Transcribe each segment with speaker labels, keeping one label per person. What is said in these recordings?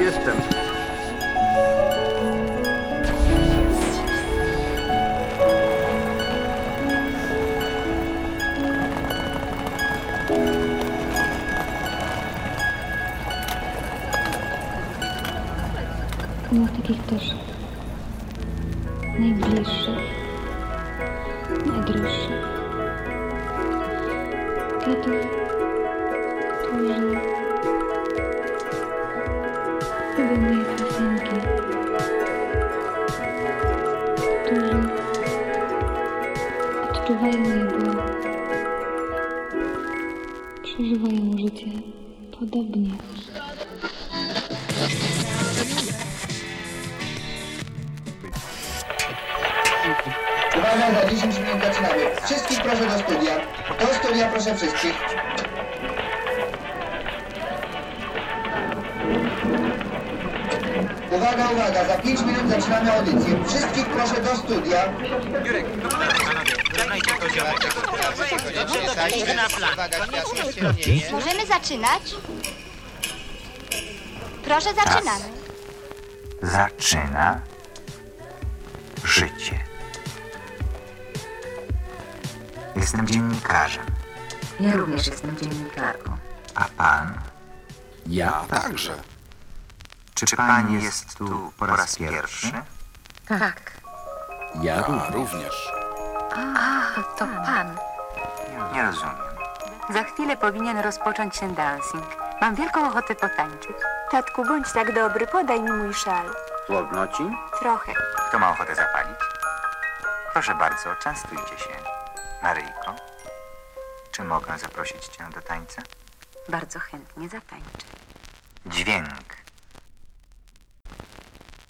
Speaker 1: jestem.
Speaker 2: No takich też najbliższych, najdroższych. Dla tych, którzy lubią moje piosenki, którzy odczuwają moje ból, przeżywają życie podobnie.
Speaker 3: Uwaga, za 10 minut zaczynamy. Wszystkich proszę do studia. Do studia proszę wszystkich. Uwaga, uwaga, za 5 minut zaczynamy audycję. Wszystkich proszę do studia.
Speaker 4: Możemy zaczynać? Proszę, zaczynamy.
Speaker 5: zaczyna życie. Jestem dziennikarzem,
Speaker 6: Ja również jestem dziennikarką.
Speaker 5: a pan?
Speaker 7: Ja także.
Speaker 5: Czy pan jest tu po raz pierwszy?
Speaker 6: Tak,
Speaker 7: Ja również.
Speaker 6: to pan.
Speaker 5: Nie rozumiem.
Speaker 6: Za chwilę powinien rozpocząć się dancing. Mam wielką ochotę potańczyć.
Speaker 8: Tatku, bądź tak dobry, podaj mi mój szal.
Speaker 5: Chłodno ci?
Speaker 8: Trochę.
Speaker 5: Kto ma ochotę zapalić? Proszę bardzo, częstujcie się. Maryjko, czy mogę zaprosić cię do tańca?
Speaker 6: Bardzo chętnie zatańczę.
Speaker 5: Dźwięk.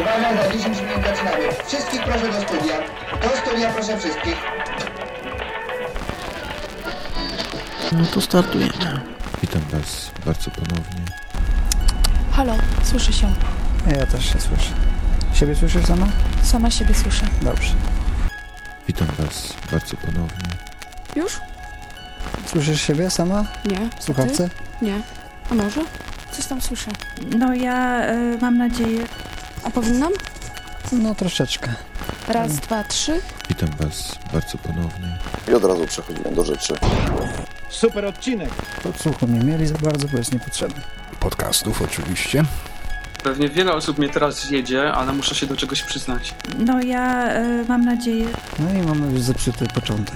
Speaker 3: Uwaga, za 10 minut zaczynamy. Wszystkich proszę do studia. Do studia proszę wszystkich.
Speaker 9: No to startujemy.
Speaker 10: Witam Was bardzo ponownie.
Speaker 8: Halo, słyszy się.
Speaker 9: Ja też się słyszę. Siebie słyszysz sama?
Speaker 8: Sama siebie słyszę.
Speaker 9: Dobrze.
Speaker 10: Witam Was bardzo ponownie.
Speaker 8: Już?
Speaker 9: Słyszysz siebie sama?
Speaker 8: Nie.
Speaker 9: W słuchawce?
Speaker 8: Nie. A może? Coś tam słyszę.
Speaker 6: No ja mam nadzieję.
Speaker 8: A powinnam?
Speaker 9: No troszeczkę.
Speaker 8: Raz, dwa, trzy.
Speaker 10: Witam Was bardzo ponownie.
Speaker 7: I od razu przechodzimy do rzeczy.
Speaker 9: Podsłuchu nie mieli za bardzo, bo jest niepotrzebny.
Speaker 7: Podcastów oczywiście.
Speaker 1: Pewnie wiele osób mnie teraz jedzie, ale muszę się do czegoś przyznać.
Speaker 6: No ja mam nadzieję.
Speaker 9: No i mamy już zepsuty początek.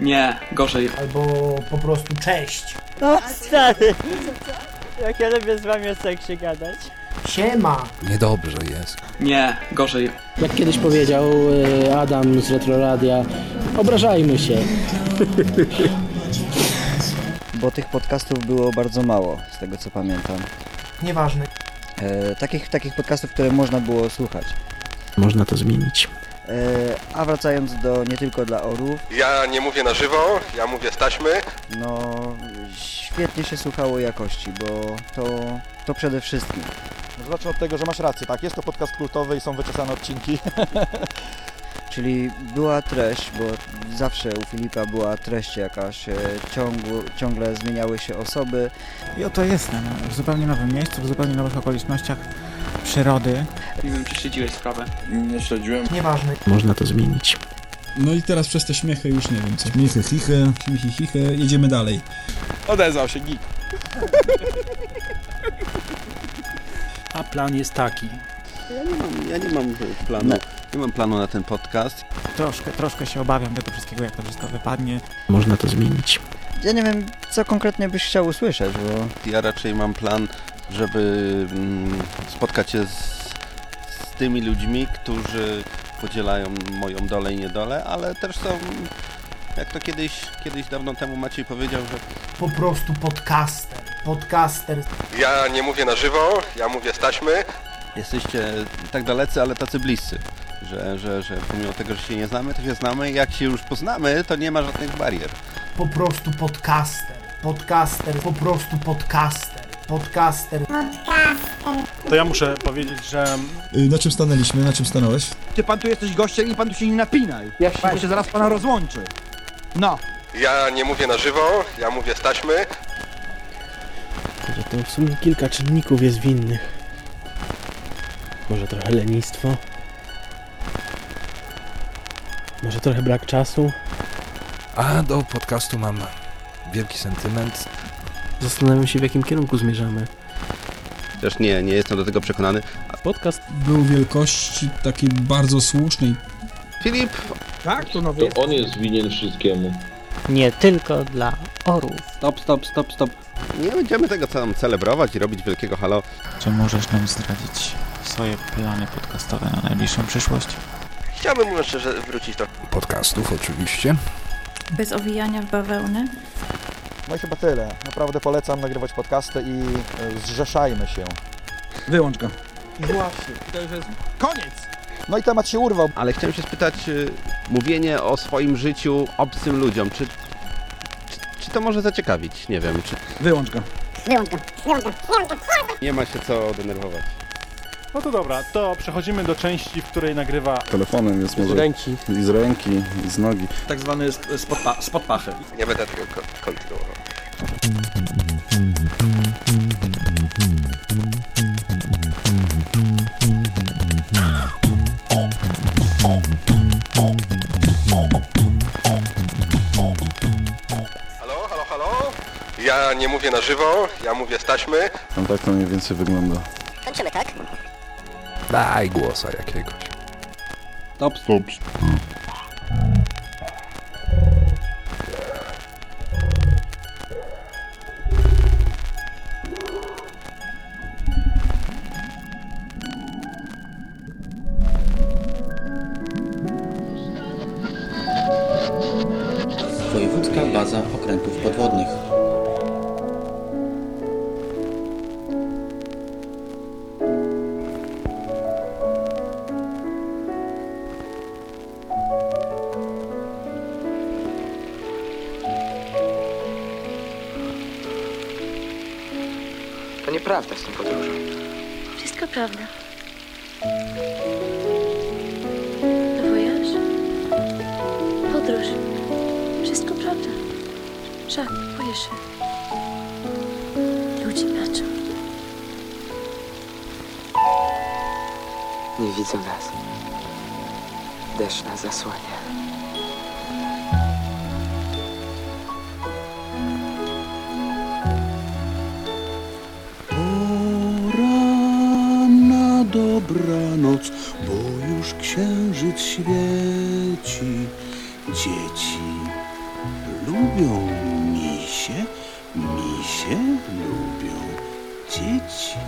Speaker 1: Nie, gorzej.
Speaker 7: Niedobrze jest.
Speaker 1: Nie, gorzej.
Speaker 9: Jak kiedyś powiedział Adam z Retroradia, obrażajmy się. Bo tych podcastów było bardzo mało, z tego co pamiętam.
Speaker 4: Nieważne.
Speaker 9: E, takich, takich podcastów, które można było słuchać.
Speaker 10: Można to zmienić.
Speaker 9: E, a wracając do nie tylko dla orów,
Speaker 7: Ja nie mówię na żywo, ja mówię staśmy.
Speaker 9: no świetnie się słuchało jakości, bo to, to przede wszystkim.
Speaker 10: Zacznę od tego, że masz rację, tak? Jest to podcast kultowy i są wyczesane odcinki.
Speaker 9: Czyli była treść, bo zawsze u Filipa była treść jakaś, e, ciągło, ciągle zmieniały się osoby.
Speaker 10: I oto jestem, w zupełnie nowym miejscu, w zupełnie nowych okolicznościach przyrody.
Speaker 1: Nie wiem, czy śledziłeś sprawę.
Speaker 7: Nie śledziłem.
Speaker 4: Nieważne.
Speaker 10: Można to zmienić.
Speaker 7: No i teraz przez te śmiechy już nie wiem, coś michy, chichy, chichy, chichy, jedziemy dalej. Odezwał się gig.
Speaker 4: A plan jest taki.
Speaker 10: Troszkę, troszkę się obawiam tego wszystkiego, jak to wszystko wypadnie.
Speaker 9: Ja nie wiem, co konkretnie byś chciał usłyszeć, bo
Speaker 7: Ja raczej mam plan, żeby mm, spotkać się z, z tymi ludźmi, którzy podzielają moją dolę i niedolę, ale też są, jak to kiedyś, kiedyś dawno temu Maciej powiedział, że
Speaker 4: Po prostu podcaster. Podcaster.
Speaker 7: Ja nie mówię na żywo, ja mówię staśmy. jesteście tak dalecy, ale tacy bliscy, że, że, że pomimo tego, że się nie znamy, to się znamy. Jak się już poznamy, to nie ma żadnych barier.
Speaker 11: Po prostu podcaster. Podcaster, po prostu podcaster. Podcaster.
Speaker 12: To ja muszę powiedzieć, że
Speaker 13: Y, Na czym stanęliśmy? Na czym stanąłeś?
Speaker 14: Ty pan tu jesteś gościem i pan tu się nie napinaj. Ja się, się zaraz pana rozłączy. No.
Speaker 15: Ja nie mówię na żywo, ja mówię z taśmy.
Speaker 16: Że to w sumie kilka czynników jest winnych. Może trochę lenistwo. Może trochę brak czasu.
Speaker 17: A do podcastu mam wielki sentyment.
Speaker 16: Zastanawiam się, w jakim kierunku zmierzamy.
Speaker 7: Też nie, nie jestem do tego przekonany.
Speaker 16: Podcast
Speaker 13: Był wielkości takiej bardzo słusznej.
Speaker 7: Filip!
Speaker 14: Tak, to nowy.
Speaker 18: To on jest winien wszystkiemu.
Speaker 19: Nie tylko dla orów.
Speaker 7: Stop, stop, stop, stop. Nie będziemy tego tam celebrować i robić wielkiego halo.
Speaker 10: Czy możesz nam zdradzić swoje plany podcastowe na najbliższą przyszłość?
Speaker 15: Chciałbym mówiąc szczerze wrócić do
Speaker 17: Podcastów oczywiście.
Speaker 20: Bez owijania w bawełnę.
Speaker 21: No i chyba tyle. Naprawdę polecam nagrywać podcasty i e, zrzeszajmy się.
Speaker 14: Wyłącz go.
Speaker 21: Właśnie.
Speaker 14: To już jest koniec.
Speaker 7: No i temat się urwał. Ale chciałem się spytać, y, mówienie o swoim życiu obcym ludziom, czy, czy, czy to może zaciekawić? Nie wiem, czy...
Speaker 14: Wyłącz go.
Speaker 22: Wyłącz go, wyłącz go, wyłącz go.
Speaker 7: Nie ma się co denerwować.
Speaker 12: No to dobra, to przechodzimy do części, w której nagrywa
Speaker 23: Telefonem jest może...
Speaker 12: ręki.
Speaker 23: I z ręki, i z nogi.
Speaker 12: tak zwany spod, spod pachy.
Speaker 15: Nie będę tego ko- kontynuował. Halo, halo, halo? Ja nie mówię na żywo, ja mówię z taśmy.
Speaker 23: Tam tak to mniej więcej wygląda.
Speaker 22: Kończymy, tak?
Speaker 17: Daj głosa jakiegoś.
Speaker 7: Stop, stop.
Speaker 24: Wojewódzka Baza Okrętów Podwodnych.
Speaker 25: To nieprawda z tym podróżą.
Speaker 20: Wszystko prawda. To wojaż? Podróż. Wszystko prawda. Żak, boję się. Ludzie patrzą.
Speaker 25: Nie widzą nas. Deszcz nas zasłania.
Speaker 26: Pora na dobranoc, bo już księżyc świeci. Dzieci lubią misie, misie lubią dzieci.